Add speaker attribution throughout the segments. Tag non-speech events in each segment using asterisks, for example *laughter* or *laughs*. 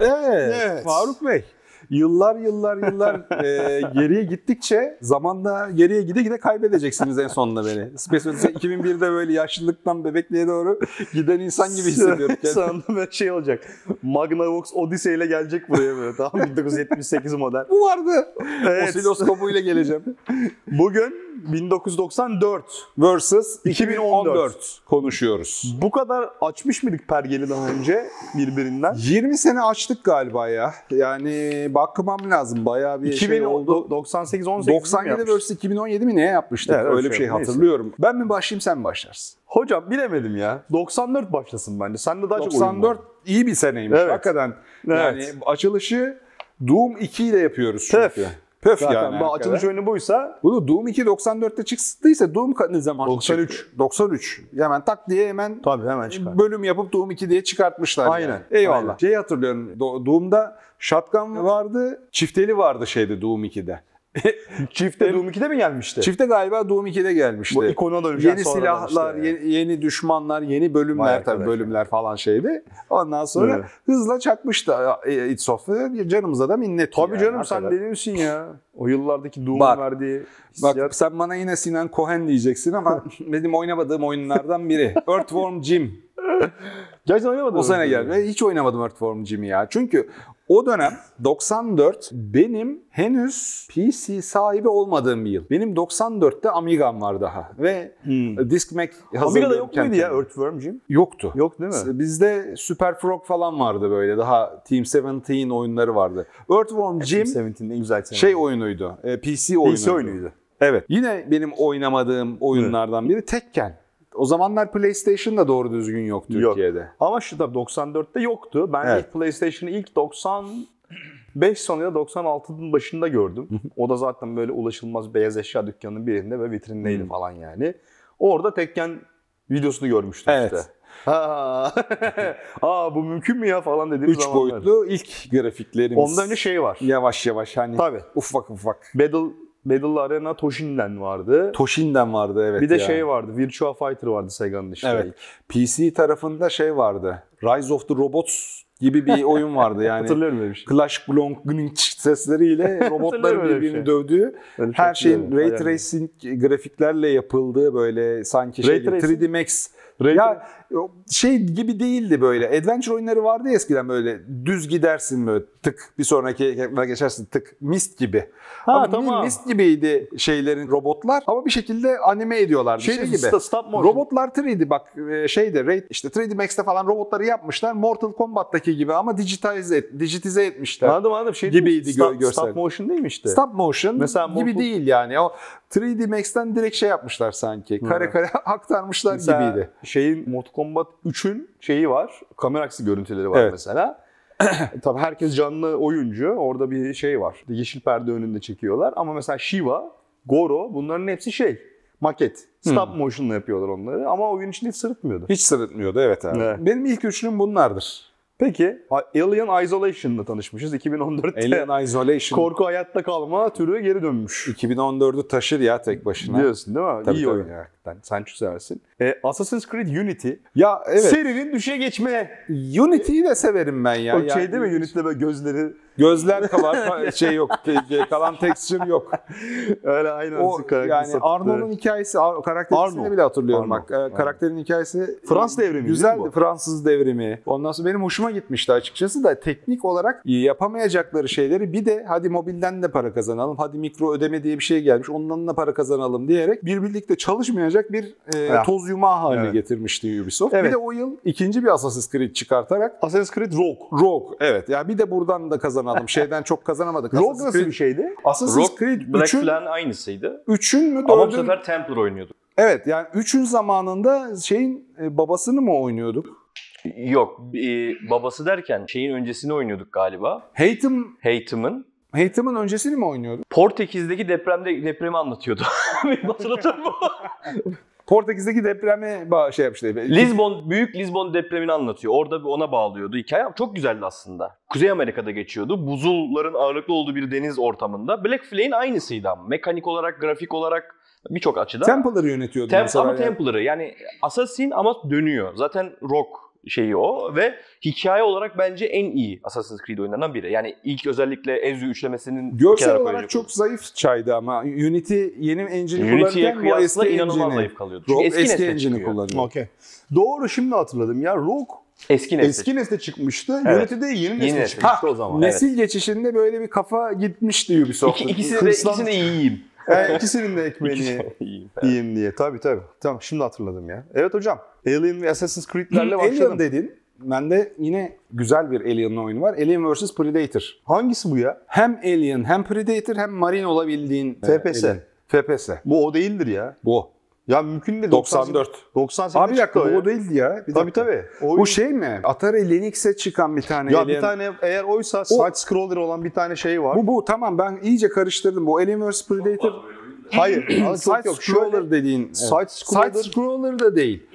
Speaker 1: Evet,
Speaker 2: Evet.
Speaker 1: Faruk Bey. Yıllar yıllar
Speaker 2: *laughs*
Speaker 1: yıllar e, geriye gittikçe zamanla geriye gide gide kaybedeceksiniz en sonunda beni. Space Odyssey 2001'de böyle yaşlılıktan bebekliğe doğru giden insan gibi
Speaker 2: *laughs*
Speaker 1: hissediyorum. kendimi.
Speaker 2: Sandım böyle şey olacak. Magnavox Odyssey ile gelecek buraya böyle tamam mı?
Speaker 1: *laughs*
Speaker 2: 1978 model.
Speaker 1: Bu vardı.
Speaker 2: Evet.
Speaker 1: Osiloskopu ile geleceğim.
Speaker 2: Bugün 1994. *laughs*
Speaker 1: Versus
Speaker 2: 2014.
Speaker 1: 2014 konuşuyoruz.
Speaker 2: Bu kadar açmış mıydık pergeli daha önce birbirinden?
Speaker 1: 20 sene açtık galiba ya. Yani bakmam lazım. Bayağı bir şey oldu.
Speaker 2: 98 18
Speaker 1: 97 vs 2017 mi neye yapmıştık?
Speaker 2: Evet,
Speaker 1: Öyle bir şey
Speaker 2: neyse.
Speaker 1: hatırlıyorum. Ben mi başlayayım sen mi başlarsın?
Speaker 2: Hocam bilemedim ya. 94 başlasın bence. Sen de daha çok uyum var.
Speaker 1: 94 iyi bir seneymiş.
Speaker 2: Evet.
Speaker 1: Hakikaten.
Speaker 2: Evet.
Speaker 1: Yani açılışı Doom 2 ile yapıyoruz çünkü.
Speaker 2: Pef.
Speaker 1: Pöf
Speaker 2: Zaten
Speaker 1: yani.
Speaker 2: bu
Speaker 1: hakikaten.
Speaker 2: açılış oyunu buysa
Speaker 1: Bunu Doom 2 94'te çıktıysa Doom ka- ne zaman
Speaker 2: 93.
Speaker 1: çıktı? 93. Hemen tak diye hemen
Speaker 2: tabii hemen çıkar.
Speaker 1: bölüm yapıp Doom 2 diye çıkartmışlar. yani.
Speaker 2: Aynen,
Speaker 1: Eyvallah.
Speaker 2: aynen.
Speaker 1: Şey hatırlıyorum. Do- Doom'da shotgun vardı. Çifteli vardı şeyde Doom 2'de.
Speaker 2: Çifte Doom 2'de mi gelmişti?
Speaker 1: Çifte galiba Doom 2'de gelmişti.
Speaker 2: Bu ikona döneceğiz
Speaker 1: yeni
Speaker 2: sonradan işte
Speaker 1: silahlar,
Speaker 2: yani.
Speaker 1: yeni, yeni düşmanlar, yeni
Speaker 2: Vay
Speaker 1: bölümler
Speaker 2: arkadaş
Speaker 1: tabii bölümler falan şeydi. Ondan sonra
Speaker 2: Evet.
Speaker 1: hızla çakmıştı e, id Software. Canımıza da minnet.
Speaker 2: Tabii
Speaker 1: yani
Speaker 2: canım sen
Speaker 1: hakikaten.
Speaker 2: deli misin ya? O yıllardaki Doom'un
Speaker 1: Bak,
Speaker 2: verdiği
Speaker 1: Bak
Speaker 2: hissiyat.
Speaker 1: sen bana yine Sinan Cohen diyeceksin
Speaker 2: *laughs*
Speaker 1: ama benim oynamadığım oyunlardan biri. Earthworm Jim.
Speaker 2: Gerçekten oynamadın
Speaker 1: O
Speaker 2: mı?
Speaker 1: sene geldi. Ben Hiç oynamadım Earthworm Jim'i ya. Çünkü o dönem 94 benim henüz PC sahibi olmadığım bir yıl. Benim 94'te Amiga'm var daha. Ve
Speaker 2: Hmm.
Speaker 1: Discmac
Speaker 2: Amiga'da
Speaker 1: hazırlıyordum
Speaker 2: yok
Speaker 1: kendi
Speaker 2: muydu ya
Speaker 1: kendime.
Speaker 2: Earthworm Jim?
Speaker 1: Yoktu.
Speaker 2: Yok değil mi?
Speaker 1: Bizde Super Frog falan vardı böyle. Daha Team 17 oyunları vardı. Earthworm Jim
Speaker 2: 17'nin en güzel senesi.
Speaker 1: şey oyunuydu. e, PC oyunuydu.
Speaker 2: PC oyunuydu.
Speaker 1: Evet. Yine benim oynamadığım oyunlardan biri Tekken. O zamanlar PlayStation da doğru düzgün yok
Speaker 2: Yok.
Speaker 1: Türkiye'de.
Speaker 2: Ama şu tabii 94'te yoktu. Ben
Speaker 1: Evet.
Speaker 2: ilk PlayStation'ı ilk 95 sonu ya 96'nın başında gördüm. o da zaten böyle ulaşılmaz beyaz eşya dükkanının birinde ve vitrindeydi
Speaker 1: Hı.
Speaker 2: falan yani. Orada Tekken videosunu görmüştüm
Speaker 1: Evet.
Speaker 2: işte. Ha. *laughs* Aa bu mümkün mü ya falan dediğim
Speaker 1: 3
Speaker 2: zamanlar.
Speaker 1: boyutlu ilk grafiklerimiz.
Speaker 2: Ondan önce şey var.
Speaker 1: yavaş yavaş hani
Speaker 2: Tabii.
Speaker 1: ufak ufak.
Speaker 2: Battle Battle Arena Toshinden vardı.
Speaker 1: Toshinden vardı evet
Speaker 2: bir de
Speaker 1: ya.
Speaker 2: şey vardı. Virtua Fighter vardı Sega'nın işte.
Speaker 1: Evet. Hani
Speaker 2: ilk.
Speaker 1: PC tarafında şey vardı. Rise of the Robots gibi
Speaker 2: *laughs*
Speaker 1: bir oyun vardı yani.
Speaker 2: Hatırlıyorum öyle bir şey.
Speaker 1: Clash Blanc grinç sesleriyle robotların
Speaker 2: *laughs* Hatırlıyorum öyle bir
Speaker 1: birbirini
Speaker 2: şey.
Speaker 1: dövdüğü,
Speaker 2: Öyle bir şey
Speaker 1: her şeyin
Speaker 2: hatırlıyorum.
Speaker 1: ray
Speaker 2: Hayal-
Speaker 1: tracing grafiklerle yapıldığı böyle sanki
Speaker 2: Ray
Speaker 1: şey gibi,
Speaker 2: tracing?
Speaker 1: 3D Max
Speaker 2: Ray
Speaker 1: ya şey gibi değildi böyle. Adventure oyunları vardı ya eskiden böyle düz gidersin böyle tık bir sonraki ekrana geçersin tık mist gibi.
Speaker 2: Ha,
Speaker 1: ama
Speaker 2: tamam.
Speaker 1: mist gibiydi şeylerin robotlar ama bir şekilde anime ediyorlardı şey,
Speaker 2: Şeydi,
Speaker 1: gibi.
Speaker 2: sta- stop motion.
Speaker 1: Robotlar 3D bak e, şeyde Raid işte 3D Max'te falan robotları yapmışlar. Mortal Kombat'taki gibi ama digitize et, dijitize etmişler.
Speaker 2: Anladım anladım. Şey değil mi?
Speaker 1: Gibiydi
Speaker 2: Stop-
Speaker 1: gö- görsel.
Speaker 2: Stop motion değil mi işte?
Speaker 1: Stop motion
Speaker 2: Mesela
Speaker 1: gibi
Speaker 2: Mortal-
Speaker 1: değil yani. O 3D Max'ten direkt şey yapmışlar sanki. Kare
Speaker 2: Hı.
Speaker 1: kare *laughs* aktarmışlar
Speaker 2: Mesela
Speaker 1: gibiydi.
Speaker 2: Şeyin Mortal Kombat 3'ün şeyi var. Kamera aksi görüntüleri var
Speaker 1: Evet.
Speaker 2: mesela. *clears throat* Tabii herkes canlı oyuncu. Orada bir şey var. Yeşil perde önünde çekiyorlar. Ama mesela Shiva, Goro bunların hepsi şey. Maket. Stop
Speaker 1: Hmm.
Speaker 2: motion'la yapıyorlar onları. Ama oyun içinde hiç sırıtmıyordu.
Speaker 1: Hiç sırıtmıyordu evet abi.
Speaker 2: Evet.
Speaker 1: Benim ilk üçlüm bunlardır.
Speaker 2: Peki Alien Isolation'la tanışmışız 2014'te.
Speaker 1: Alien Isolation
Speaker 2: Korku hayatta kalma türü geri dönmüş.
Speaker 1: 2014'ü taşır ya tek başına.
Speaker 2: Diyorsun değil mi?
Speaker 1: Tabii,
Speaker 2: İyi
Speaker 1: tabii.
Speaker 2: oyun hakikaten. Sen çok seversin. E, Assassin's Creed Unity.
Speaker 1: Ya evet.
Speaker 2: Serinin düşe geçme.
Speaker 1: Unity'yi de severim ben ya.
Speaker 2: o şey
Speaker 1: Yani
Speaker 2: değil mi? Unity'de böyle gözleri
Speaker 1: Gözler kalan
Speaker 2: *laughs*
Speaker 1: ka- şey yok. ke- Kalan texture yok.
Speaker 2: öyle aynı
Speaker 1: O yani Arno'nun hikayesi, Ar- karakterin ismini
Speaker 2: Arno.
Speaker 1: bile hatırlıyorum
Speaker 2: Arno.
Speaker 1: bak. Ee,
Speaker 2: Arno.
Speaker 1: Karakterin hikayesi
Speaker 2: Frans devrimi değil mi
Speaker 1: Güzeldi.
Speaker 2: bu?
Speaker 1: Fransız devrimi. Ondan sonra benim hoşuma gitmişti açıkçası da teknik olarak yapamayacakları şeyleri bir de hadi mobilden de para kazanalım, hadi mikro ödeme diye bir şey gelmiş, ondan da para kazanalım diyerek bir birlikte çalışmayacak bir e,
Speaker 2: Ya.
Speaker 1: toz yumağı haline
Speaker 2: Ah. Evet.
Speaker 1: getirmişti Ubisoft. Bir
Speaker 2: Evet.
Speaker 1: de o yıl ikinci bir Assassin's Creed çıkartarak
Speaker 2: Assassin's Creed Rogue.
Speaker 1: Rogue evet ya bir de buradan da kazanalım. Şeyden çok kazanamadık.
Speaker 2: *laughs* Rogue
Speaker 1: Assassin's
Speaker 2: nasıl
Speaker 1: Creed-
Speaker 2: bir şey? şeydi?
Speaker 1: Assassin's
Speaker 3: Rogue,
Speaker 1: Creed
Speaker 3: Black
Speaker 1: 3'ün
Speaker 3: Flag'in aynısıydı.
Speaker 1: 3'ün mü
Speaker 3: Ama bu
Speaker 1: 4'ün
Speaker 3: sefer Templar oynuyordu.
Speaker 1: Evet yani 3'ün zamanında şeyin e, babasını mı oynuyorduk?
Speaker 3: Yok, e, babası derken şeyin öncesini oynuyorduk galiba.
Speaker 1: Hatem,
Speaker 3: Hatem'ın.
Speaker 1: Hatem'ın öncesini mi oynuyorduk?
Speaker 3: Portekiz'deki depremde depremi anlatıyordu. *laughs* Benim hatırladığım
Speaker 1: *laughs*
Speaker 3: bu.
Speaker 1: Portekiz'deki depremi ba- şey yapmıştı.
Speaker 3: Lisbon, büyük Lisbon depremini anlatıyor. Orada bir ona bağlıyordu hikaye ama çok güzeldi aslında. Kuzey Amerika'da geçiyordu. Buzulların ağırlıklı olduğu bir deniz ortamında. Black Flag'in aynısıydı ama. Mekanik olarak, grafik olarak birçok açıdan.
Speaker 1: Templar'ı yönetiyordu
Speaker 3: Tem-
Speaker 1: mesela.
Speaker 3: ama
Speaker 1: yani.
Speaker 3: Templar'ı yani Assassin ama dönüyor. Zaten Rock
Speaker 2: şeyi o ve hikaye olarak bence en iyi Assassin's Creed oyunlarından biri. Yani ilk özellikle Ezio üçlemesinin
Speaker 1: Görsel
Speaker 2: kenara
Speaker 1: olarak
Speaker 2: koyacak
Speaker 1: çok zayıf çaydı ama Unity yeni engine'i
Speaker 2: olursa. Unity'ye
Speaker 1: kullanırken bu
Speaker 2: kıyasla
Speaker 1: eski
Speaker 2: inanılmaz
Speaker 1: engine'i.
Speaker 2: zayıf kalıyordu. Çünkü
Speaker 1: Rogue
Speaker 2: eski,
Speaker 1: eski
Speaker 2: nesle
Speaker 1: engine'i
Speaker 2: çıkıyor.
Speaker 1: kullanıyor.
Speaker 4: Okey. Doğru şimdi hatırladım ya. Rogue
Speaker 2: Eski nesle.
Speaker 4: eski nesle çıkmıştı.
Speaker 2: Evet.
Speaker 4: Unity de yeni nesle
Speaker 2: nesle
Speaker 4: çıkmıştı o zaman.
Speaker 1: Nesil geçişinde böyle bir kafa gitmişti Ubisoft'un.
Speaker 2: İki, ikisini, de, ikisini de
Speaker 4: *laughs*
Speaker 2: iyiyim.
Speaker 4: Yani E, ikisinin de ekmeğini *laughs*
Speaker 2: İkisini de iyiyim.
Speaker 4: yiyeyim diye. Tabii tabii. Tamam şimdi hatırladım ya. Evet hocam. Alien ve Assassin's Creed'lerle
Speaker 1: Alien
Speaker 4: başladım.
Speaker 1: dedin. Bende yine güzel bir Alien oyunu var. Alien vs Predator.
Speaker 4: Hangisi bu ya?
Speaker 1: Hem Alien hem Predator hem Marine olabildiğin
Speaker 4: FPS.
Speaker 1: Alien. FPS.
Speaker 4: Bu o değildir ya.
Speaker 1: Bu.
Speaker 4: Ya mümkün de
Speaker 1: 94.
Speaker 4: 98
Speaker 1: Abi bir dakika bu
Speaker 4: o
Speaker 1: o değildi ya. Bir
Speaker 4: Tabii
Speaker 1: dakika.
Speaker 4: tabii. O
Speaker 1: Bu şey mi? Atari Linux'e çıkan bir tane
Speaker 4: ya
Speaker 1: Alien.
Speaker 4: bir tane eğer oysa side scroller olan bir tane şey var.
Speaker 1: Bu bu tamam ben iyice karıştırdım. Bu Alien vs Predator *clears throat*
Speaker 4: Hayır. ama çok
Speaker 1: side
Speaker 4: yok. Şöyle
Speaker 1: scroller dediğin. Evet.
Speaker 4: side scroller
Speaker 1: Side scroller da değil.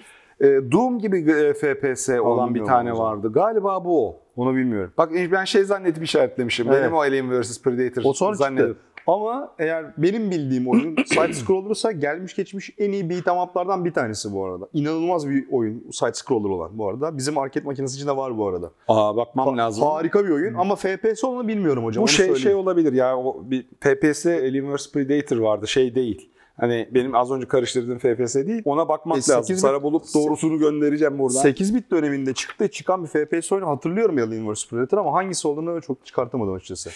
Speaker 1: Ee, Doom gibi e, FPS olan bir
Speaker 4: bilmiyorum
Speaker 1: tane
Speaker 4: o zaman.
Speaker 1: vardı. Galiba bu o.
Speaker 4: onu bilmiyorum.
Speaker 1: Bak ben şey zannedip işaretlemişim.
Speaker 4: Evet.
Speaker 1: Benim o Alien vs Predator
Speaker 4: O sonra
Speaker 1: zannedip.
Speaker 4: çıktı. Ama eğer benim bildiğim
Speaker 1: *coughs*
Speaker 4: oyun side scroller'sa gelmiş geçmiş en iyi beat'em up'lardan bir tanesi bu arada. İnanılmaz bir oyun side scroller olan bu arada. Bizim arket makinesi içinde var bu arada.
Speaker 1: Aa bakmam
Speaker 4: Ha-
Speaker 1: lazım. Hmm.
Speaker 4: Harika bir oyun ama FPS olanı bilmiyorum hocam.
Speaker 1: Bu
Speaker 4: onu
Speaker 1: şey
Speaker 4: söyleyeyim.
Speaker 1: şey olabilir ya o bir FPS Alien vs Predator vardı şey değil. Hani benim az önce karıştırdığım FPS değil. Ona bakmak
Speaker 4: E,
Speaker 1: lazım.
Speaker 4: sekiz
Speaker 1: Sana bulup doğrusunu göndereceğim buradan.
Speaker 4: 8 bit döneminde çıktı çıkan bir FPS oyunu hatırlıyorum Alien vs Predator ama hangisi olduğunu çok çıkartamadım açıkçası.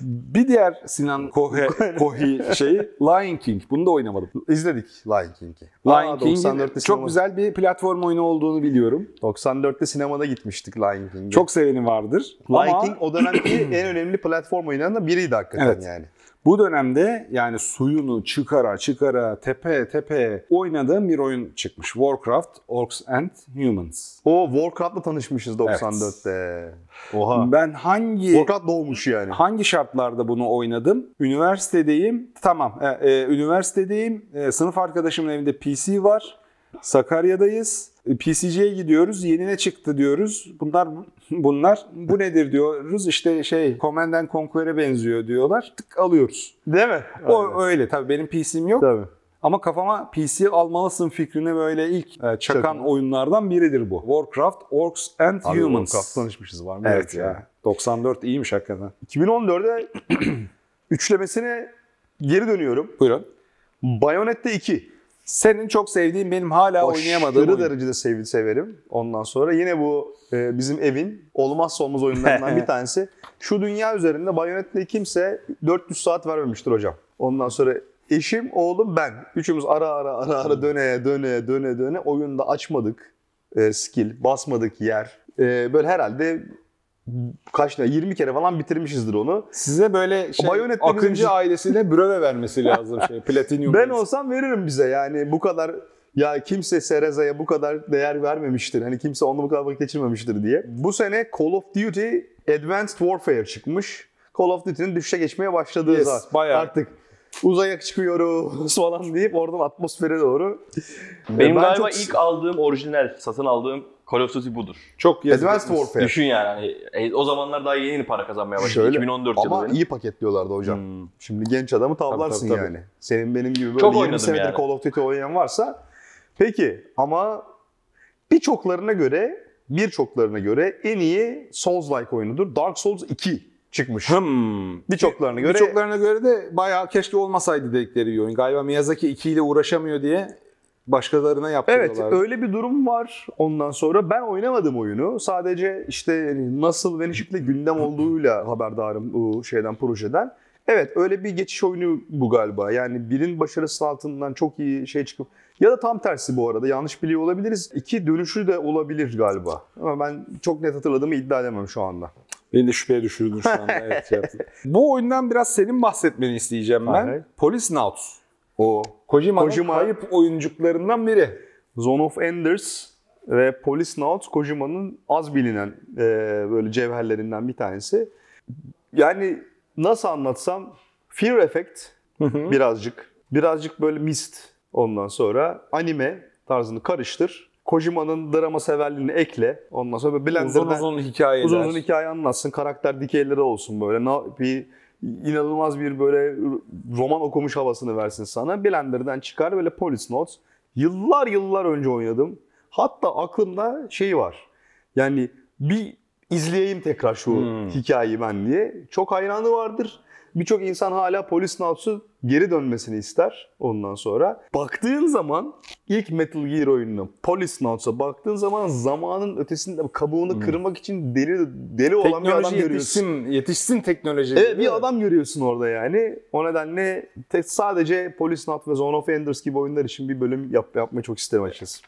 Speaker 1: Bir diğer Sinan
Speaker 4: *laughs*
Speaker 1: Kohe, Kohi şeyi Lion King. Bunu da oynamadım.
Speaker 4: İzledik Lion King'i.
Speaker 1: Lion
Speaker 4: Aa,
Speaker 1: King'in
Speaker 4: 94'te
Speaker 1: çok
Speaker 4: sinema-
Speaker 1: güzel bir platform oyunu olduğunu biliyorum.
Speaker 4: 94'te sinemada gitmiştik Lion King'e.
Speaker 1: Çok seveni vardır.
Speaker 4: Lion
Speaker 1: Ama
Speaker 4: King o dönemki
Speaker 1: *coughs*
Speaker 4: en önemli platform oyunlarından biriydi hakikaten
Speaker 1: Evet.
Speaker 4: yani.
Speaker 1: bu dönemde yani suyunu çıkara çıkara tepe tepe oynadığım bir oyun çıkmış. Warcraft Orcs and Humans.
Speaker 4: O Warcraft'la tanışmışız 94'te. Oha.
Speaker 1: Ben hangi
Speaker 4: Warcraft doğmuş yani.
Speaker 1: Hangi şartlarda bunu oynadım? Üniversitedeyim. Tamam. e, e, üniversitedeyim. E, sınıf arkadaşımın evinde PC var. Sakarya'dayız. E, PC'ye gidiyoruz. Yeni ne çıktı diyoruz. Bunlar bunlar bu nedir diyoruz. İşte şey Command and Conquer'e benziyor diyorlar. Tık alıyoruz.
Speaker 4: Değil mi? Aynen.
Speaker 1: O öyle. Tabii benim PC'm yok.
Speaker 4: Tabii.
Speaker 1: Ama kafama PC almalısın fikrini böyle ilk e, çakan
Speaker 4: Çakın.
Speaker 1: oyunlardan biridir bu. Warcraft, Orcs and
Speaker 4: Abi
Speaker 1: Humans.
Speaker 4: Warcraft'la tanışmışız var mı?
Speaker 1: Evet ya. 94 iyiymiş hakikaten.
Speaker 4: 2014'e *clears throat* üçlemesine geri dönüyorum.
Speaker 1: Buyurun.
Speaker 4: Bayonetta 2.
Speaker 1: Senin çok sevdiğin benim hala oynayamadığım
Speaker 4: Aşırı
Speaker 1: oyun.
Speaker 4: derecede sev- severim. Ondan sonra yine bu e, bizim evin olmazsa olmaz
Speaker 1: *laughs*
Speaker 4: oyunlarından bir tanesi. Şu dünya üzerinde Bayonetta'ya kimse 400 saat vermemiştir hocam. Ondan sonra eşim, oğlum, ben. Üçümüz ara ara ara
Speaker 1: Hmm.
Speaker 4: ara döne döne döne döne oyunda açmadık e, skill, basmadık yer. E, böyle herhalde kaç ne 20 kere falan bitirmişizdir onu.
Speaker 1: Size böyle şey,
Speaker 4: Bayonet dediğimiz-
Speaker 1: Akıncı ailesine bröve vermesi lazım
Speaker 4: *laughs*
Speaker 1: şey Platinum.
Speaker 4: Ben olsam veririm bize yani bu kadar ya kimse Sereza'ya bu kadar değer vermemiştir. Hani kimse onunla bu kadar vakit geçirmemiştir diye. Bu sene Call of Duty Advanced Warfare çıkmış. Call of Duty'nin düşüşe geçmeye başladığı
Speaker 1: Yes,
Speaker 4: zaman
Speaker 1: bayağı.
Speaker 4: artık uzaya çıkıyoruz *laughs* falan deyip oradan atmosfere doğru.
Speaker 2: Benim
Speaker 4: Ben
Speaker 2: galiba
Speaker 4: çok-
Speaker 2: ilk aldığım orijinal, satın aldığım Call of Duty budur.
Speaker 1: çok yazık.
Speaker 4: Advanced Warfare.
Speaker 2: Düşün yani. hani, e, o zamanlar daha yeni yeni para kazanmaya başladı.
Speaker 4: Şöyle.
Speaker 2: 2014
Speaker 4: Ama
Speaker 2: yılları.
Speaker 4: iyi paketliyorlardı hocam.
Speaker 1: Hmm.
Speaker 4: Şimdi genç adamı tavlarsın
Speaker 1: Tabii, tabii,
Speaker 4: yani. Senin benim gibi böyle
Speaker 2: Çok
Speaker 4: 20
Speaker 2: oynadım
Speaker 4: senedir
Speaker 2: yani.
Speaker 4: Call of Duty oynayan varsa. Peki ama birçoklarına göre birçoklarına göre en iyi Souls-like oyunudur. Dark Souls 2 çıkmış.
Speaker 1: Hmm.
Speaker 4: Birçoklarına göre
Speaker 1: Birçoklarına göre de bayağı keşke olmasaydı dedikleri bir oyun. Galiba Miyazaki 2 ile uğraşamıyor diye başkalarına
Speaker 4: Evet
Speaker 1: yaptırıyorlar.
Speaker 4: öyle bir durum var. Ondan sonra ben oynamadım oyunu. Sadece işte nasıl ve ne şekilde gündem olduğuyla haberdarım bu şeyden projeden. Evet öyle bir geçiş oyunu bu galiba. Yani birin başarısı altından çok iyi şey çıkıp ya da tam tersi bu arada yanlış biliyor olabiliriz. İki dönüşü de olabilir galiba. Ama ben çok net hatırladığımı iddia edemem şu anda.
Speaker 1: Beni de şüpheye düşürdün şu *laughs* anda. evet, şey yaptın. Bu oyundan biraz senin bahsetmeni isteyeceğim ben.
Speaker 4: Hayır.
Speaker 1: Police Nauts.
Speaker 4: O
Speaker 1: Kojima'nın
Speaker 4: Kojima-
Speaker 1: kayıp oyuncuklarından biri.
Speaker 4: Zone of Enders ve Police Nauts Kojima'nın az bilinen e, böyle cevherlerinden bir tanesi. Yani nasıl anlatsam Fear Effect birazcık. Birazcık böyle mist ondan sonra anime tarzını karıştır. Kojima'nın drama severliğini ekle. Ondan sonra böyle blenderdan
Speaker 1: uzun uzun hikayeler.
Speaker 4: uzun uzun hikaye anlatsın. Karakter dikeyleri olsun böyle. Na- Bir inanılmaz bir böyle roman okumuş havasını versin sana. Blender'dan çıkar böyle Police Notes. Yıllar yıllar önce oynadım. Hatta aklımda şey var. Yani bir izleyeyim tekrar şu
Speaker 1: Hmm.
Speaker 4: hikayeyi ben diye. Çok hayranı vardır. Birçok insan hala polis Nauts'u geri dönmesini ister ondan sonra. Baktığın zaman ilk Metal Gear oyununa Police Nauts'a baktığın zaman zamanın ötesinde kabuğunu
Speaker 1: Hmm.
Speaker 4: kırmak için deli deli olan bir adam
Speaker 1: Teknoloji
Speaker 4: görüyorsun.
Speaker 1: yetişsin, yetişsin teknoloji.
Speaker 4: Evet bir adam görüyorsun orada yani. O nedenle te- sadece Police Not ve Zone of Enders gibi oyunlar için bir bölüm yap- yapmayı çok isterim açıkçası.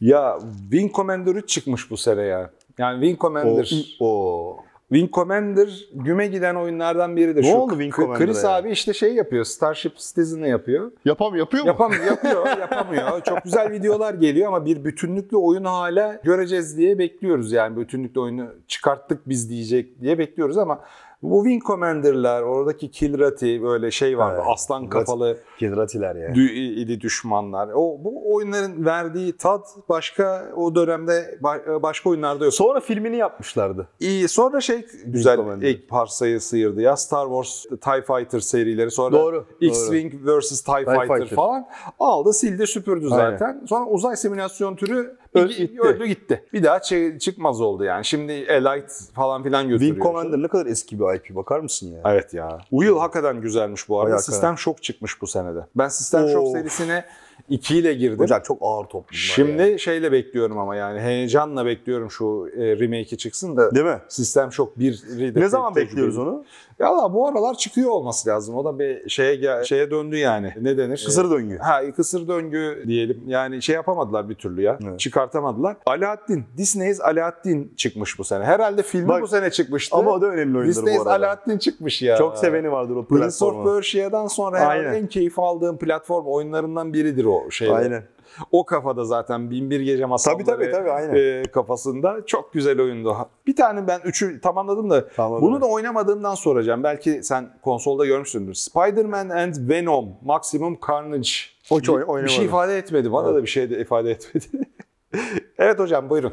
Speaker 1: Ya Wing Commander 3 çıkmış bu sene ya. Yani Wing
Speaker 4: O,
Speaker 1: Commander.
Speaker 4: o.
Speaker 1: Wing Commander güme giden oyunlardan biri de
Speaker 4: Ne
Speaker 1: şu.
Speaker 4: oldu Wing
Speaker 1: K-
Speaker 4: Commander'a
Speaker 1: Chris
Speaker 4: ya?
Speaker 1: abi işte şey yapıyor. Starship Citizen'ı yapıyor.
Speaker 4: Yapam yapıyor mu?
Speaker 1: Yapam yapıyor, *laughs* yapamıyor. Çok güzel videolar geliyor ama bir bütünlüklü oyunu hala göreceğiz diye bekliyoruz. Yani bütünlüklü oyunu çıkarttık biz diyecek diye bekliyoruz ama bu Wing Commander'lar, oradaki Kilrati böyle şey vardı.
Speaker 4: Evet.
Speaker 1: Aslan kafalı
Speaker 4: Kilratiler ya.
Speaker 1: dü- idi düşmanlar. O bu oyunların verdiği tat başka o dönemde ba- başka oyunlarda yok.
Speaker 4: Sonra filmini yapmışlardı.
Speaker 1: İyi, sonra şey güzel
Speaker 4: Commander.
Speaker 1: ilk parsayı sıyırdı ya Star Wars TIE Fighter serileri sonra
Speaker 4: Doğru.
Speaker 1: X-Wing vs. TIE,
Speaker 4: TIE
Speaker 1: Fighter,
Speaker 4: Fighter.
Speaker 1: falan aldı sildi süpürdü
Speaker 4: Aynen.
Speaker 1: zaten. Sonra uzay simülasyon türü
Speaker 4: Ö-
Speaker 1: bir-
Speaker 4: gitti.
Speaker 1: öldü gitti. Bir daha çı- çıkmaz oldu yani. Şimdi Elite falan filan götürüyor.
Speaker 4: Wing Commander ne kadar eski bir IP bakar mısın ya?
Speaker 1: Evet ya. Uyul hakikaten güzelmiş bu arada.
Speaker 4: Bayağı
Speaker 1: Sistem Şok çıkmış bu senede. Ben Sistem Şok
Speaker 4: Of.
Speaker 1: serisine 2 ile girdim.
Speaker 4: Hocam çok ağır toplumlar
Speaker 1: Şimdi
Speaker 4: ya.
Speaker 1: şeyle bekliyorum ama yani heyecanla bekliyorum şu e, remake'i çıksın da
Speaker 4: Değil mi?
Speaker 1: Sistem Şok 1'i de
Speaker 4: Ne zaman
Speaker 1: tecrübe-
Speaker 4: bekliyoruz onu?
Speaker 1: Ya da bu aralar çıkıyor olması lazım. O da bir şeye gel- şeye döndü yani. Ne denir? Ee,
Speaker 4: Kısır döngü.
Speaker 1: Ha kısır döngü diyelim. Yani şey yapamadılar bir türlü ya.
Speaker 4: Evet.
Speaker 1: Çıkartamadılar. Alaaddin. Disney's Alaaddin çıkmış bu sene. Herhalde filmi
Speaker 4: Bak,
Speaker 1: bu sene çıkmıştı.
Speaker 4: Ama o da önemli oyundur
Speaker 1: Disney's
Speaker 4: bu arada.
Speaker 1: Alaaddin çıkmış ya.
Speaker 4: Çok seveni vardır o
Speaker 1: Prince of
Speaker 4: platformu.
Speaker 1: Persia'dan sonra herhalde
Speaker 4: Aynen.
Speaker 1: en keyif aldığım platform oyunlarından biridir o şey.
Speaker 4: Aynen.
Speaker 1: O kafada zaten Binbir Gece Masalları
Speaker 4: Tabii tabii tabii aynen.
Speaker 1: e, kafasında. Çok güzel oyundu. Bir tane ben üçü tamamladım da
Speaker 4: Tamam,
Speaker 1: bunu da oynamadığımdan soracağım. Belki sen konsolda görmüşsündür. Spider-Man and Venom Maximum Carnage.
Speaker 4: Hiç oyn-
Speaker 1: bir, bir şey
Speaker 4: oynamadım.
Speaker 1: ifade etmedi. Bana da bir şey de ifade etmedi. *laughs* evet hocam buyurun.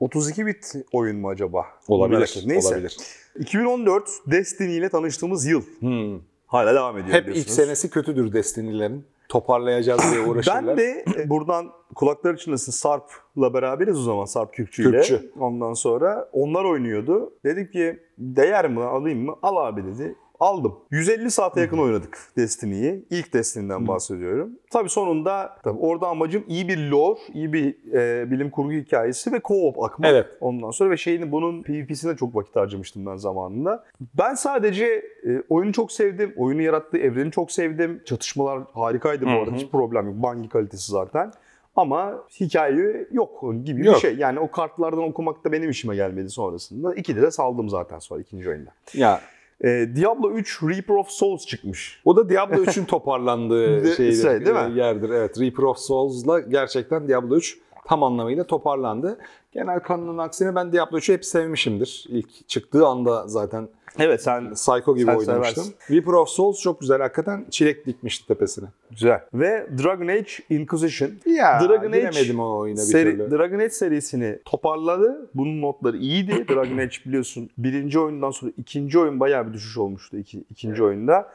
Speaker 4: 32 bit oyun mu acaba? Merak
Speaker 1: Olabilir.
Speaker 4: ettim. Neyse.
Speaker 1: Olabilir.
Speaker 4: 2014 Destiny ile tanıştığımız yıl.
Speaker 1: Hmm.
Speaker 4: Hala devam ediyor
Speaker 1: Hep ilk
Speaker 4: biliyorsunuz.
Speaker 1: senesi kötüdür Destiny'lerin. Toparlayacağız diye uğraşırlar.
Speaker 4: Ben de
Speaker 1: *clears throat*
Speaker 4: e, buradan kulakları çınlasın Sarp'la beraberiz o zaman Sarp Kürkçü ile.
Speaker 1: Kürkçü.
Speaker 4: Ondan sonra onlar oynuyordu. Dedim ki değer mi lan, alayım mı? Al abi dedi. Aldım. 150 saate yakın oynadık Destiny'yi. İlk Destiny'den
Speaker 1: Hı.
Speaker 4: bahsediyorum. Tabii sonunda tabii orada amacım iyi bir lore, iyi bir e, bilim kurgu hikayesi ve co-op akmak.
Speaker 1: Evet.
Speaker 4: Ondan sonra ve şeyini bunun PvP'sine çok vakit harcamıştım ben zamanında. Ben sadece e, oyunu çok sevdim. Oyunu yarattığı evreni çok sevdim. Çatışmalar harikaydı bu
Speaker 1: Hı
Speaker 4: arada.
Speaker 1: hı.
Speaker 4: Hiç problem yok. Bungie kalitesi zaten. Ama hikaye yok gibi
Speaker 1: Yok.
Speaker 4: bir şey. Yani o kartlardan okumak da benim işime gelmedi sonrasında. İkide de saldım zaten sonra ikinci oyunda.
Speaker 1: Ya
Speaker 4: E, Diablo 3 Reaper of Souls çıkmış.
Speaker 1: O da Diablo 3'ün toparlandığı
Speaker 4: *laughs* De-
Speaker 1: şeydir,
Speaker 4: şey, değil mi?
Speaker 1: yerdir. Evet, Reaper of Souls'la gerçekten Diablo 3 tam anlamıyla toparlandı. Genel kanının aksine ben Diablo 3'ü hep sevmişimdir. İlk çıktığı anda zaten
Speaker 4: Evet sen
Speaker 1: Psycho gibi
Speaker 4: Sen
Speaker 1: oynamıştım.
Speaker 4: seversin.
Speaker 1: Reaper of Souls çok güzel. Hakikaten çilek dikmişti tepesine.
Speaker 4: güzel. Ve Dragon Age Inquisition
Speaker 1: Ya,
Speaker 4: Dragon Age
Speaker 1: giremedim o oyuna bir
Speaker 4: Seri,
Speaker 1: türlü.
Speaker 4: Dragon Age serisini toparladı. Bunun
Speaker 1: *clears throat*
Speaker 4: notları iyiydi. Dragon Age biliyorsun birinci oyundan sonra ikinci oyun bayağı bir düşüş olmuştu iki, ikinci oyunda.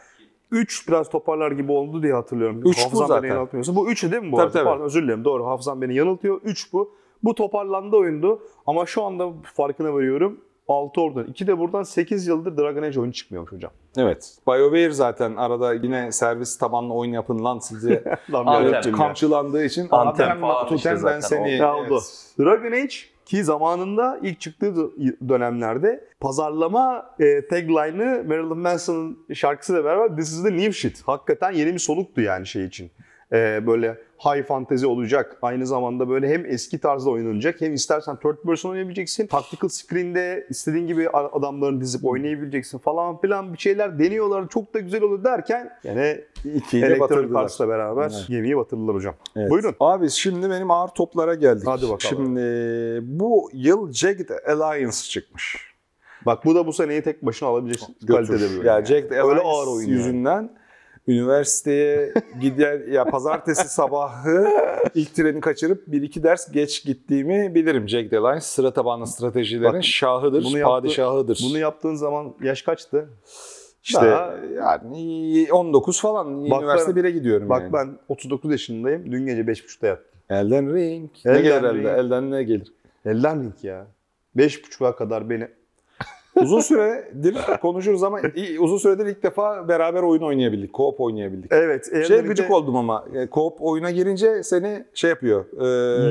Speaker 4: 3 biraz toparlar gibi oldu diye hatırlıyorum.
Speaker 1: Üç bu
Speaker 4: Hafızam
Speaker 1: zaten.
Speaker 4: beni yanıltmıyorsa. Bu 3'ü değil mi bu
Speaker 1: Tabii,
Speaker 4: arada?
Speaker 1: tabii.
Speaker 4: Pardon özür dilerim doğru hafızam beni yanıltıyor. 3 bu. Bu toparlandı oyundu ama şu anda farkına varıyorum. 6 oradan 2 de buradan 8 yıldır Dragon Age oyunu çıkmıyormuş hocam. *laughs*
Speaker 1: Evet. BioWare zaten arada yine servis tabanlı oyun yapılan
Speaker 4: *laughs*
Speaker 1: sizi
Speaker 4: Lan bir
Speaker 2: Anten
Speaker 4: ara-
Speaker 2: ya.
Speaker 1: kamçılandığı için
Speaker 2: Anten
Speaker 1: Anten
Speaker 2: falan
Speaker 1: Tutem
Speaker 2: işte
Speaker 1: ben
Speaker 2: zaten
Speaker 1: seni.
Speaker 4: o. Ya oldu.
Speaker 1: Evet.
Speaker 4: Dragon Age ki zamanında ilk çıktığı d- dönemlerde pazarlama e, tagline'ı Marilyn Manson'ın şarkısıyla beraber This is the new shit. Hakikaten yeni bir soluktu yani şey için. E, böyle high fantasy olacak. Aynı zamanda böyle hem eski tarzda oynanacak hem istersen third person oynayabileceksin. Tactical screen'de istediğin gibi a- adamlarını dizip oynayabileceksin falan filan bir şeyler deniyorlar. Çok da güzel olur derken yani
Speaker 1: İkiyle
Speaker 4: elektronik
Speaker 1: batırdılar.
Speaker 4: Arts'la beraber
Speaker 1: Evet.
Speaker 4: gemiyi batırdılar hocam.
Speaker 1: Evet.
Speaker 4: Buyurun.
Speaker 1: Abi şimdi benim ağır toplara geldik.
Speaker 4: Hadi bakalım.
Speaker 1: Şimdi bu yıl Jagged Alliance çıkmış.
Speaker 4: Bak bu da bu seneyi tek başına alabileceksin
Speaker 1: Götür.
Speaker 4: kalitede bir oyun.
Speaker 1: Ya
Speaker 4: yani.
Speaker 1: Jagged
Speaker 4: Öyle
Speaker 1: Alliance
Speaker 4: ağır oyun yani.
Speaker 1: yüzünden üniversiteye gider ya pazartesi sabahı ilk treni kaçırıp bir iki ders geç gittiğimi bilirim. Jagged Alliance sıra tabanlı stratejilerin
Speaker 4: Bak,
Speaker 1: şahıdır,
Speaker 4: bunu yaptı-
Speaker 1: padişahıdır.
Speaker 4: Bunu yaptığın zaman yaş kaçtı?
Speaker 1: işte
Speaker 4: Daha-
Speaker 1: yani 19 falan
Speaker 4: Bak
Speaker 1: üniversite
Speaker 4: ben-
Speaker 1: 1'e gidiyorum
Speaker 4: Bak
Speaker 1: yani.
Speaker 4: ben 39 yaşındayım. Dün gece 5.30'da yattım.
Speaker 1: Elden Ring. ne
Speaker 4: Elden
Speaker 1: gelir elde?
Speaker 4: Ring.
Speaker 1: Elden ne gelir?
Speaker 4: Elden ya. 5.5'a kadar beni
Speaker 1: Uzun süredir konuşuruz ama iyi- uzun süredir ilk defa beraber oyun oynayabildik. Co-op oynayabildik.
Speaker 4: Evet. eğer
Speaker 1: Şey
Speaker 4: bir
Speaker 1: gıcık
Speaker 4: de
Speaker 1: oldum ama. e, Co-op oyuna girince seni şey yapıyor.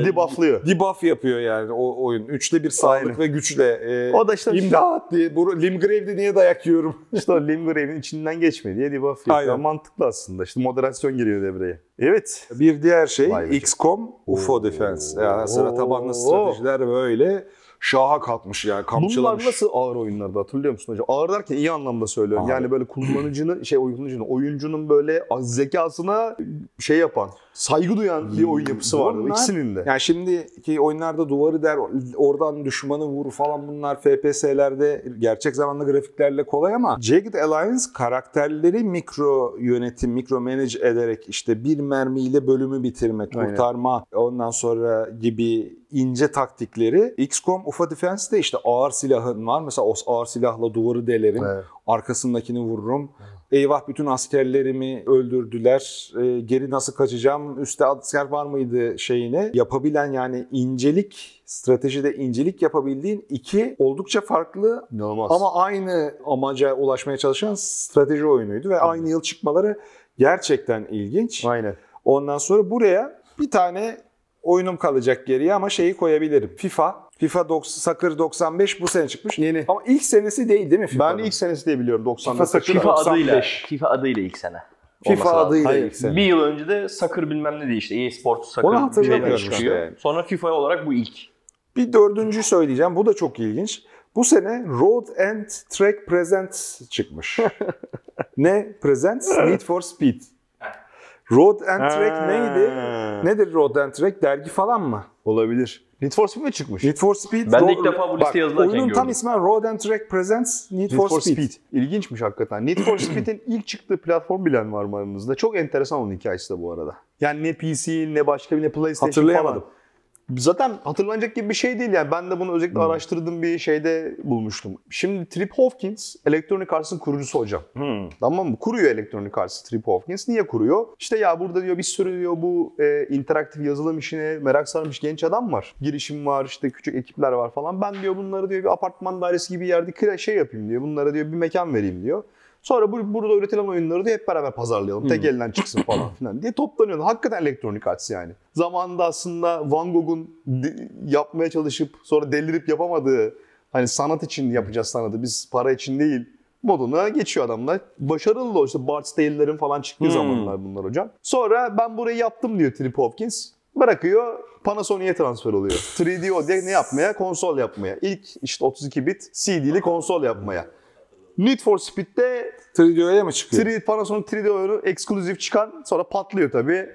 Speaker 1: E,
Speaker 4: Debufflıyor.
Speaker 1: Debuff yapıyor yani o oyun. Üçte bir sağlık
Speaker 4: Aynen.
Speaker 1: ve güçle. E,
Speaker 4: O da işte
Speaker 1: İmdat diye. Bu, Limgrave'de niye dayak yiyorum?
Speaker 4: işte o Limgrave'in içinden geçme diye debuff yapıyor.
Speaker 1: Aynen.
Speaker 4: Mantıklı aslında. İşte moderasyon giriyor devreye. Evet.
Speaker 1: Bir diğer şey
Speaker 4: Vay be.
Speaker 1: XCOM UFO Defense. Yani sıra tabanlı
Speaker 4: Oo.
Speaker 1: stratejiler böyle şaha kalkmış yani kamçılamış.
Speaker 4: Bunlar nasıl ağır oyunlardı hatırlıyor musun hocam? Ağır derken iyi anlamda söylüyorum.
Speaker 1: Ağır.
Speaker 4: Yani böyle kullanıcının şey oyuncunun oyuncunun böyle az zekasına şey yapan, saygı duyan bir oyun yapısı vardı
Speaker 1: Bunlar-
Speaker 4: ikisinin de.
Speaker 1: Yani şimdiki oyunlarda duvarı der, oradan düşmanı vur falan bunlar FPS'lerde gerçek zamanlı grafiklerle kolay ama Jagged Alliance karakterleri mikro yönetim, mikro manage ederek işte bir mermiyle bölümü bitirme,
Speaker 4: Aynen.
Speaker 1: kurtarma ondan sonra gibi ince taktikleri. XCOM UFO Defense'de işte ağır silahın var. Mesela o ağır silahla duvarı delerim
Speaker 4: Evet.
Speaker 1: arkasındakini vururum. Eyvah bütün askerlerimi öldürdüler. Ee, geri nasıl kaçacağım? Üste asker var mıydı şeyine? Yapabilen yani incelik, stratejide incelik yapabildiğin iki oldukça farklı
Speaker 4: İnanılmaz.
Speaker 1: ama aynı amaca ulaşmaya çalışan strateji oyunuydu ve aynı yıl çıkmaları gerçekten ilginç.
Speaker 4: Aynen.
Speaker 1: Ondan sonra buraya bir tane oyunum kalacak geriye ama şeyi koyabilirim. FIFA. FIFA 90, Soccer 95 bu sene çıkmış.
Speaker 4: Yeni.
Speaker 1: Ama ilk senesi değil değil mi
Speaker 4: Ben
Speaker 1: FIFA'nın?
Speaker 4: ilk senesi diye biliyorum 90'da.
Speaker 1: FIFA sakın-
Speaker 2: FIFA adıyla.
Speaker 1: 95.
Speaker 2: FIFA adıyla ilk sene.
Speaker 1: FIFA
Speaker 2: Olması lazım.
Speaker 1: adıyla
Speaker 2: Hayır,
Speaker 1: ilk sene.
Speaker 2: Bir yıl önce de Sakır bilmem ne diye işte EA Sports Sakır.
Speaker 1: Onu hatırlamıyorum
Speaker 2: bir şeyler çıkıyor.
Speaker 1: işte yani.
Speaker 2: Sonra FIFA olarak bu ilk.
Speaker 1: Bir dördüncü söyleyeceğim. Bu da çok ilginç. Bu sene Road and Track Presents çıkmış. ne Presents? Need for Speed. Road and Track neydi?
Speaker 4: Ha.
Speaker 1: Nedir Road and Track? Dergi falan mı?
Speaker 4: Olabilir. Need for Speed mi çıkmış?
Speaker 1: Need for Speed.
Speaker 2: Ben de
Speaker 1: Ro-
Speaker 2: ilk defa bu liste
Speaker 1: Bak,
Speaker 2: yazılarken
Speaker 1: Oyunun tam
Speaker 2: gördüm.
Speaker 1: ismi Road and Track Presents Need,
Speaker 4: Need
Speaker 1: for, Speed.
Speaker 4: İlginçmiş hakikaten. Need for *clears throat* Speed'in ilk çıktığı platform bilen var mı aranızda? Çok enteresan onun hikayesi de bu arada. Yani ne PC ne başka bir ne PlayStation
Speaker 1: Hatırlayamadım.
Speaker 4: falan. Zaten hatırlanacak gibi bir şey değil yani. Ben de bunu özellikle araştırdığım bir şeyde bulmuştum. Şimdi Trip Hopkins, Electronic Arts'ın kurucusu hocam. Tamam mı? Kuruyor Electronic Arts Trip Hopkins. Niye kuruyor? İşte ya burada diyor bir sürü diyor bu e, interaktif yazılım işine merak sarmış genç adam var. Girişim var işte küçük ekipler var falan. Ben diyor bunları diyor bir apartman dairesi gibi bir yerde kira şey yapayım diyor. Bunlara diyor bir mekan vereyim diyor. Sonra bu, burada üretilen oyunları diyor hep beraber pazarlayalım. Tek elden çıksın falan filan diye toplanıyordu. Hakikaten Electronic Arts yani. Zamanında aslında Van Gogh'un de- yapmaya çalışıp sonra delirip yapamadığı hani sanat için yapacağız sanatı biz para için değil moduna geçiyor adamlar. Başarılı da o işte Bart's Tale'lerin falan çıktığı
Speaker 2: Hmm.
Speaker 4: zamanlar bunlar hocam. Sonra ben burayı yaptım diyor Trip Hopkins. Bırakıyor Panasonic'e transfer oluyor. 3D o diye ne yapmaya? Konsol yapmaya. İlk işte 32 bit CD'li konsol yapmaya. Need for Speed'de
Speaker 1: Trio'ya mı çıkıyor?
Speaker 4: 3D, Panasonic 3D oyunu eksklusif çıkan sonra patlıyor tabii.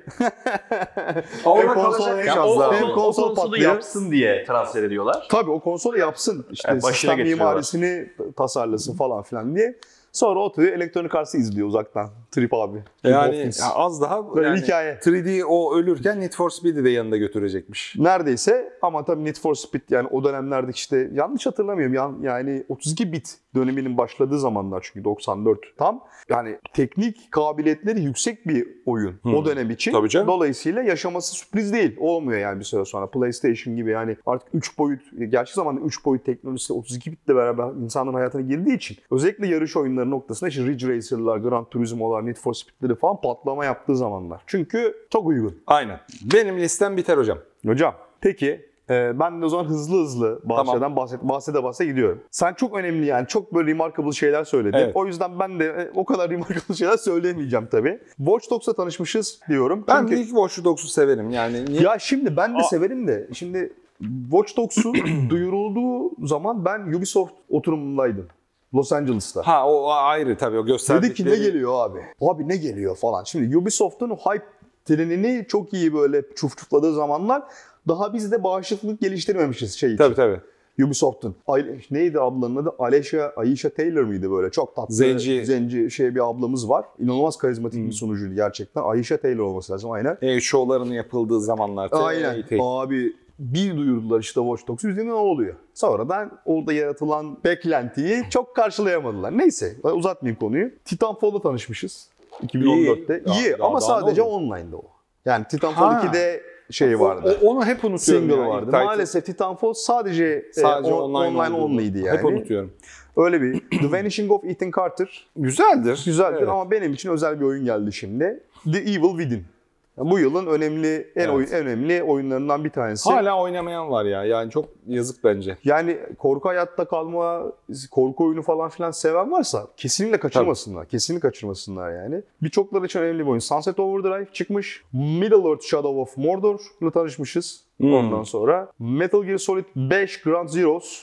Speaker 1: Orada
Speaker 4: Hem konsol
Speaker 1: kalacak
Speaker 4: hem-
Speaker 1: ya,
Speaker 4: Biraz
Speaker 2: o, o,
Speaker 4: daha.
Speaker 2: o,
Speaker 4: Hem
Speaker 2: o
Speaker 4: konsol
Speaker 2: konsolu
Speaker 4: patlıyor.
Speaker 2: yapsın diye transfer ediyorlar.
Speaker 4: Tabii o konsol yapsın. işte
Speaker 2: Yani başına
Speaker 4: sistem
Speaker 2: getiriyorlar.
Speaker 4: mimarisini tasarlasın falan filan diye. Sonra oturuyor Electronic Arts'ı izliyor uzaktan. Trip abi. Trip
Speaker 1: Yani
Speaker 4: Hopkins.
Speaker 1: az daha
Speaker 4: Böyle
Speaker 1: yani
Speaker 4: hikaye.
Speaker 1: 3D o ölürken Need for Speed'i de yanında götürecekmiş.
Speaker 4: Neredeyse ama tabii Need for Speed yani o dönemlerdeki işte yanlış hatırlamıyorum yan, yani 32 bit döneminin başladığı zamanlar çünkü 94 tam. Yani teknik kabiliyetleri yüksek bir oyun
Speaker 1: Hı.
Speaker 4: o dönem için.
Speaker 1: Hmm. Tabii canım.
Speaker 4: Dolayısıyla yaşaması sürpriz değil. Olmuyor yani bir süre sonra. PlayStation gibi yani artık 3 boyut, gerçek zamanda 3 boyut teknolojisi 32 bitle beraber insanların hayatına girdiği için özellikle yarış oyunları noktasında işte Ridge Racer'lar, Gran Turismo'lar, Need for Speed'leri falan patlama yaptığı zamanlar. Çünkü çok uygun.
Speaker 1: Aynen. Benim listem biter hocam.
Speaker 4: Hocam peki e, ben de o zaman hızlı hızlı bahçeden bahset, bahsede bahse gidiyorum. Sen çok önemli yani çok böyle remarkable şeyler söyledin.
Speaker 1: Evet.
Speaker 4: O yüzden ben de e, o kadar *laughs* remarkable şeyler söyleyemeyeceğim tabii. Watch Dogs'la tanışmışız diyorum.
Speaker 1: Ben
Speaker 4: Çünkü-
Speaker 1: ilk Watch Dogs'u severim. Yani niye
Speaker 4: ya şimdi ben de
Speaker 1: Aa.
Speaker 4: severim de şimdi Watch Dogs'un *clears throat* duyurulduğu zaman ben Ubisoft oturumundaydım. Los Angeles'ta.
Speaker 1: Ha o ayrı tabii o gösterdikleri.
Speaker 4: Dedik ki ne geliyor abi? Abi ne geliyor falan. Şimdi Ubisoft'un o hype trenini çok iyi böyle çufçufladığı zamanlar daha biz de bağışıklık geliştirmemişiz şey için.
Speaker 1: Tabii tabii.
Speaker 4: Ubisoft'un. Ay- neydi ablanın adı? Alesha, Aisha Taylor mıydı böyle? Çok tatlı.
Speaker 1: Zenci.
Speaker 4: Zenci şey bir ablamız var. İnanılmaz karizmatik bir sunucuydu gerçekten. Aisha Taylor olması lazım aynen.
Speaker 1: E, şovların yapıldığı zamanlar.
Speaker 4: Aynen.
Speaker 1: TRT.
Speaker 4: Abi bir duyurdular işte Watch Dogs yüzünden ne oluyor? Sonradan orada yaratılan beklentiyi çok karşılayamadılar. Neyse ben uzatmayayım konuyu. Titanfall'la tanışmışız 2014'te.
Speaker 1: İyi.
Speaker 4: İyi,
Speaker 1: Ya, daha-
Speaker 4: ama
Speaker 1: daha ne
Speaker 4: sadece
Speaker 1: oldu?
Speaker 4: online'da o. Yani Titanfall
Speaker 1: Ha.
Speaker 4: 2'de
Speaker 1: şey
Speaker 4: şeyi şey vardı.
Speaker 1: O- onu hep unutuyorum.
Speaker 4: Single
Speaker 1: ya,
Speaker 4: vardı.
Speaker 1: Titan-
Speaker 4: Maalesef Titanfall sadece,
Speaker 1: Sadece
Speaker 4: e, on-
Speaker 1: online,
Speaker 4: online,
Speaker 1: olduğunu.
Speaker 4: only'ydi yani.
Speaker 1: Hep unutuyorum.
Speaker 4: Öyle bir *clears throat* The Vanishing of Ethan Carter
Speaker 1: Güzeldir.
Speaker 4: güzeldir
Speaker 1: Evet.
Speaker 4: ama benim için özel bir oyun geldi şimdi. The Evil Within. Yani bu yılın önemli en
Speaker 1: Evet.
Speaker 4: oyun en önemli oyunlarından bir tanesi.
Speaker 1: Hala oynamayan var ya. Yani çok yazık bence.
Speaker 4: Yani korku hayatta kalma, korku oyunu falan filan seven varsa kesinlikle kaçırmasınlar. Kesinlikle kaçırmasınlar yani. Birçokları için önemli bir oyun. Sunset Overdrive çıkmış. Middle Earth Shadow of Mordor'la tanışmışız.
Speaker 1: Hmm.
Speaker 4: Ondan sonra Metal Gear Solid 5 Ground Zeroes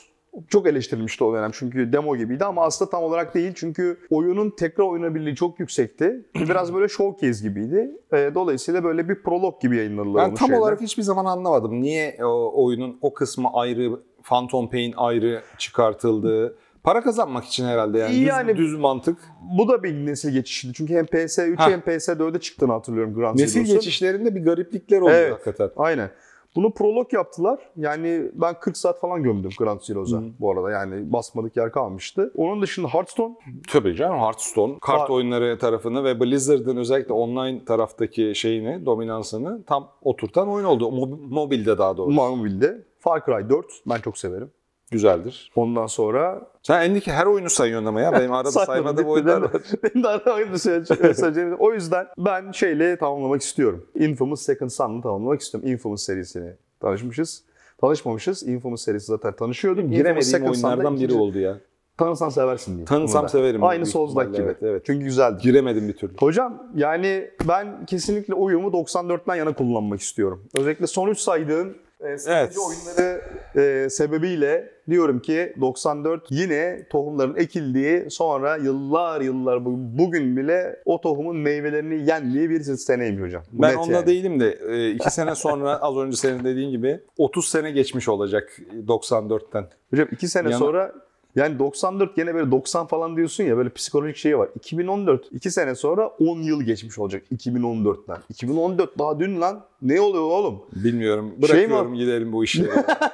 Speaker 4: çok eleştirilmişti o dönem çünkü demo gibiydi ama aslında tam olarak değil çünkü oyunun tekrar oynanabilirliği
Speaker 1: *clears throat*
Speaker 4: çok yüksekti. Biraz böyle showcase gibiydi. Ee, Dolayısıyla böyle bir prolog gibi yayınladılar
Speaker 1: Ben
Speaker 4: onu
Speaker 1: tam
Speaker 4: şeyden.
Speaker 1: olarak hiçbir zaman anlamadım. Niye o oyunun o kısmı ayrı, Phantom Pain ayrı çıkartıldı? Para kazanmak için herhalde yani. Düz,
Speaker 4: Yani-
Speaker 1: düz mantık.
Speaker 4: Bu da bir nesil geçişiydi. Çünkü hem PS3
Speaker 1: Ha.
Speaker 4: hem PS4'e çıktığını hatırlıyorum Grand
Speaker 1: Nesil
Speaker 4: Zeroes'un.
Speaker 1: geçişlerinde bir gariplikler oluyor
Speaker 4: Evet.
Speaker 1: hakikaten.
Speaker 4: Aynen. Bunu prolog yaptılar. Yani ben 40 saat falan gömdüm Grand Zeroes'a
Speaker 1: Hı.
Speaker 4: bu arada. Yani basmadık yer kalmıştı. Onun dışında Hearthstone
Speaker 1: Tabii canım Hearthstone kart
Speaker 4: Var.
Speaker 1: oyunları tarafını ve Blizzard'ın özellikle online taraftaki şeyini, dominansını tam oturtan oyun oldu. Mob- mobilde daha doğrusu.
Speaker 4: Marvel'de. Far Cry 4 ben çok severim.
Speaker 1: Güzeldir.
Speaker 4: Ondan sonra
Speaker 1: Sen elindeki her oyunu sayıyorsun ama
Speaker 4: *laughs*
Speaker 1: ya. Benim arada
Speaker 4: Saymadım,
Speaker 1: saymadığım
Speaker 4: bitti,
Speaker 1: oyunlar var.
Speaker 4: değil mi? *laughs* Benim de aramayı da *laughs* söyleyeceğim. söyleyeceğim. O yüzden ben şeyle tamamlamak istiyorum. Infamous Second Son'la tamamlamak istiyorum. Infamous serisini tanışmışız. Tanışmamışız. Infamous serisi zaten tanışıyordum. Infamous
Speaker 1: Giremediğim
Speaker 4: Second Son'da
Speaker 1: oyunlardan biri
Speaker 4: ikinci-
Speaker 1: oldu ya.
Speaker 4: Tanırsan seversin diye.
Speaker 1: Tanısam
Speaker 4: Bunu da.
Speaker 1: severim.
Speaker 4: Aynı
Speaker 1: Büyük
Speaker 4: Soulslike gibi.
Speaker 1: ihtimalle, Evet, evet.
Speaker 4: Çünkü güzeldi.
Speaker 1: Giremedim bir türlü.
Speaker 4: Hocam yani ben kesinlikle oyumu 94'ten yana kullanmak istiyorum. Özellikle son üç saydığın e, strateji oyunları e, sebebiyle diyorum ki 94 yine tohumların ekildiği sonra yıllar yıllar bu- bugün bile o tohumun meyvelerini yendiği bir seneymiş hocam. Bu
Speaker 1: Ben
Speaker 4: net
Speaker 1: onda
Speaker 4: yani.
Speaker 1: değilim de e, iki
Speaker 4: *laughs*
Speaker 1: sene sonra az önce senin dediğin gibi 30 sene geçmiş olacak 94'ten.
Speaker 4: Hocam 2 sene
Speaker 1: Yana-
Speaker 4: sonra yani 94 gene böyle 90 falan diyorsun ya böyle psikolojik şey var. 2014 2 sene sonra 10 yıl geçmiş olacak 2014'ten. 2014 daha dün lan ne oluyor oğlum?
Speaker 1: Bilmiyorum.
Speaker 4: Şey mi
Speaker 1: Bırakıyorum gidelim bu işleri.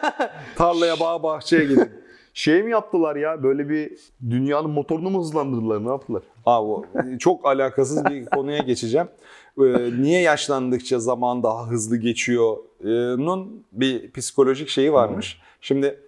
Speaker 4: *laughs*
Speaker 1: Tarlaya, bağ, bahçeye gidelim.
Speaker 4: Şey mi yaptılar ya böyle bir dünyanın motorunu mu hızlandırdılar ne yaptılar?
Speaker 1: Abi o- çok alakasız bir konuya geçeceğim. Ee, niye yaşlandıkça zaman daha hızlı geçiyor'nun bir psikolojik şeyi varmış. Şimdi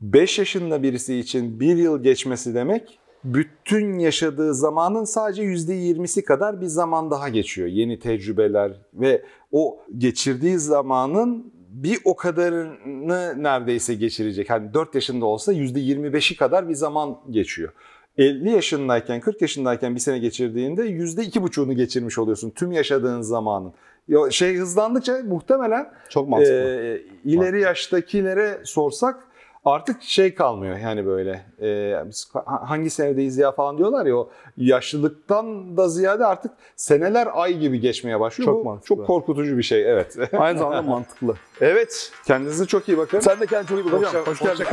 Speaker 1: 5 yaşında birisi için 1 yıl geçmesi demek bütün yaşadığı zamanın sadece %20'si kadar bir zaman daha geçiyor. Yeni tecrübeler ve o geçirdiği zamanın bir o kadarını neredeyse geçirecek. Hani 4 yaşında olsa %25'i kadar bir zaman geçiyor. 50 yaşındayken, 40 yaşındayken bir sene geçirdiğinde %2,5'unu geçirmiş oluyorsun tüm yaşadığın zamanın. Ya Şey hızlandıkça muhtemelen
Speaker 4: Çok mantıklı.
Speaker 1: e, ileri yaştakilere sorsak artık şey kalmıyor yani böyle e, biz ha- hangi senedeyiz ya falan diyorlar ya o yaşlılıktan da ziyade artık seneler ay gibi geçmeye başlıyor.
Speaker 4: Çok
Speaker 1: Bu
Speaker 4: mantıklı.
Speaker 1: çok korkutucu bir şey evet.
Speaker 4: Ee, Aynı zamanda mantıklı. Evet.
Speaker 1: *laughs* Kendinize çok iyi bakın.
Speaker 4: Sen de kendine çok iyi bak.
Speaker 1: Hoşça-
Speaker 4: Hocam, hoş geldin.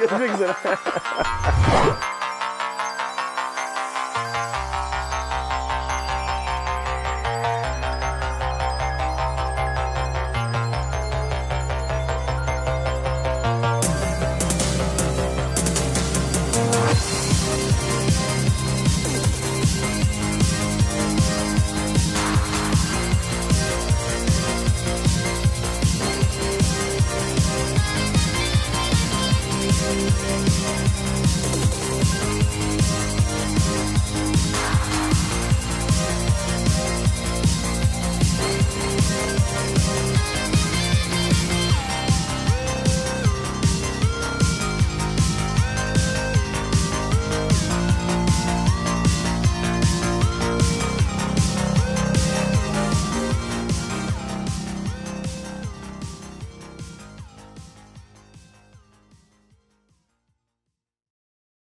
Speaker 4: Görüşmek üzere.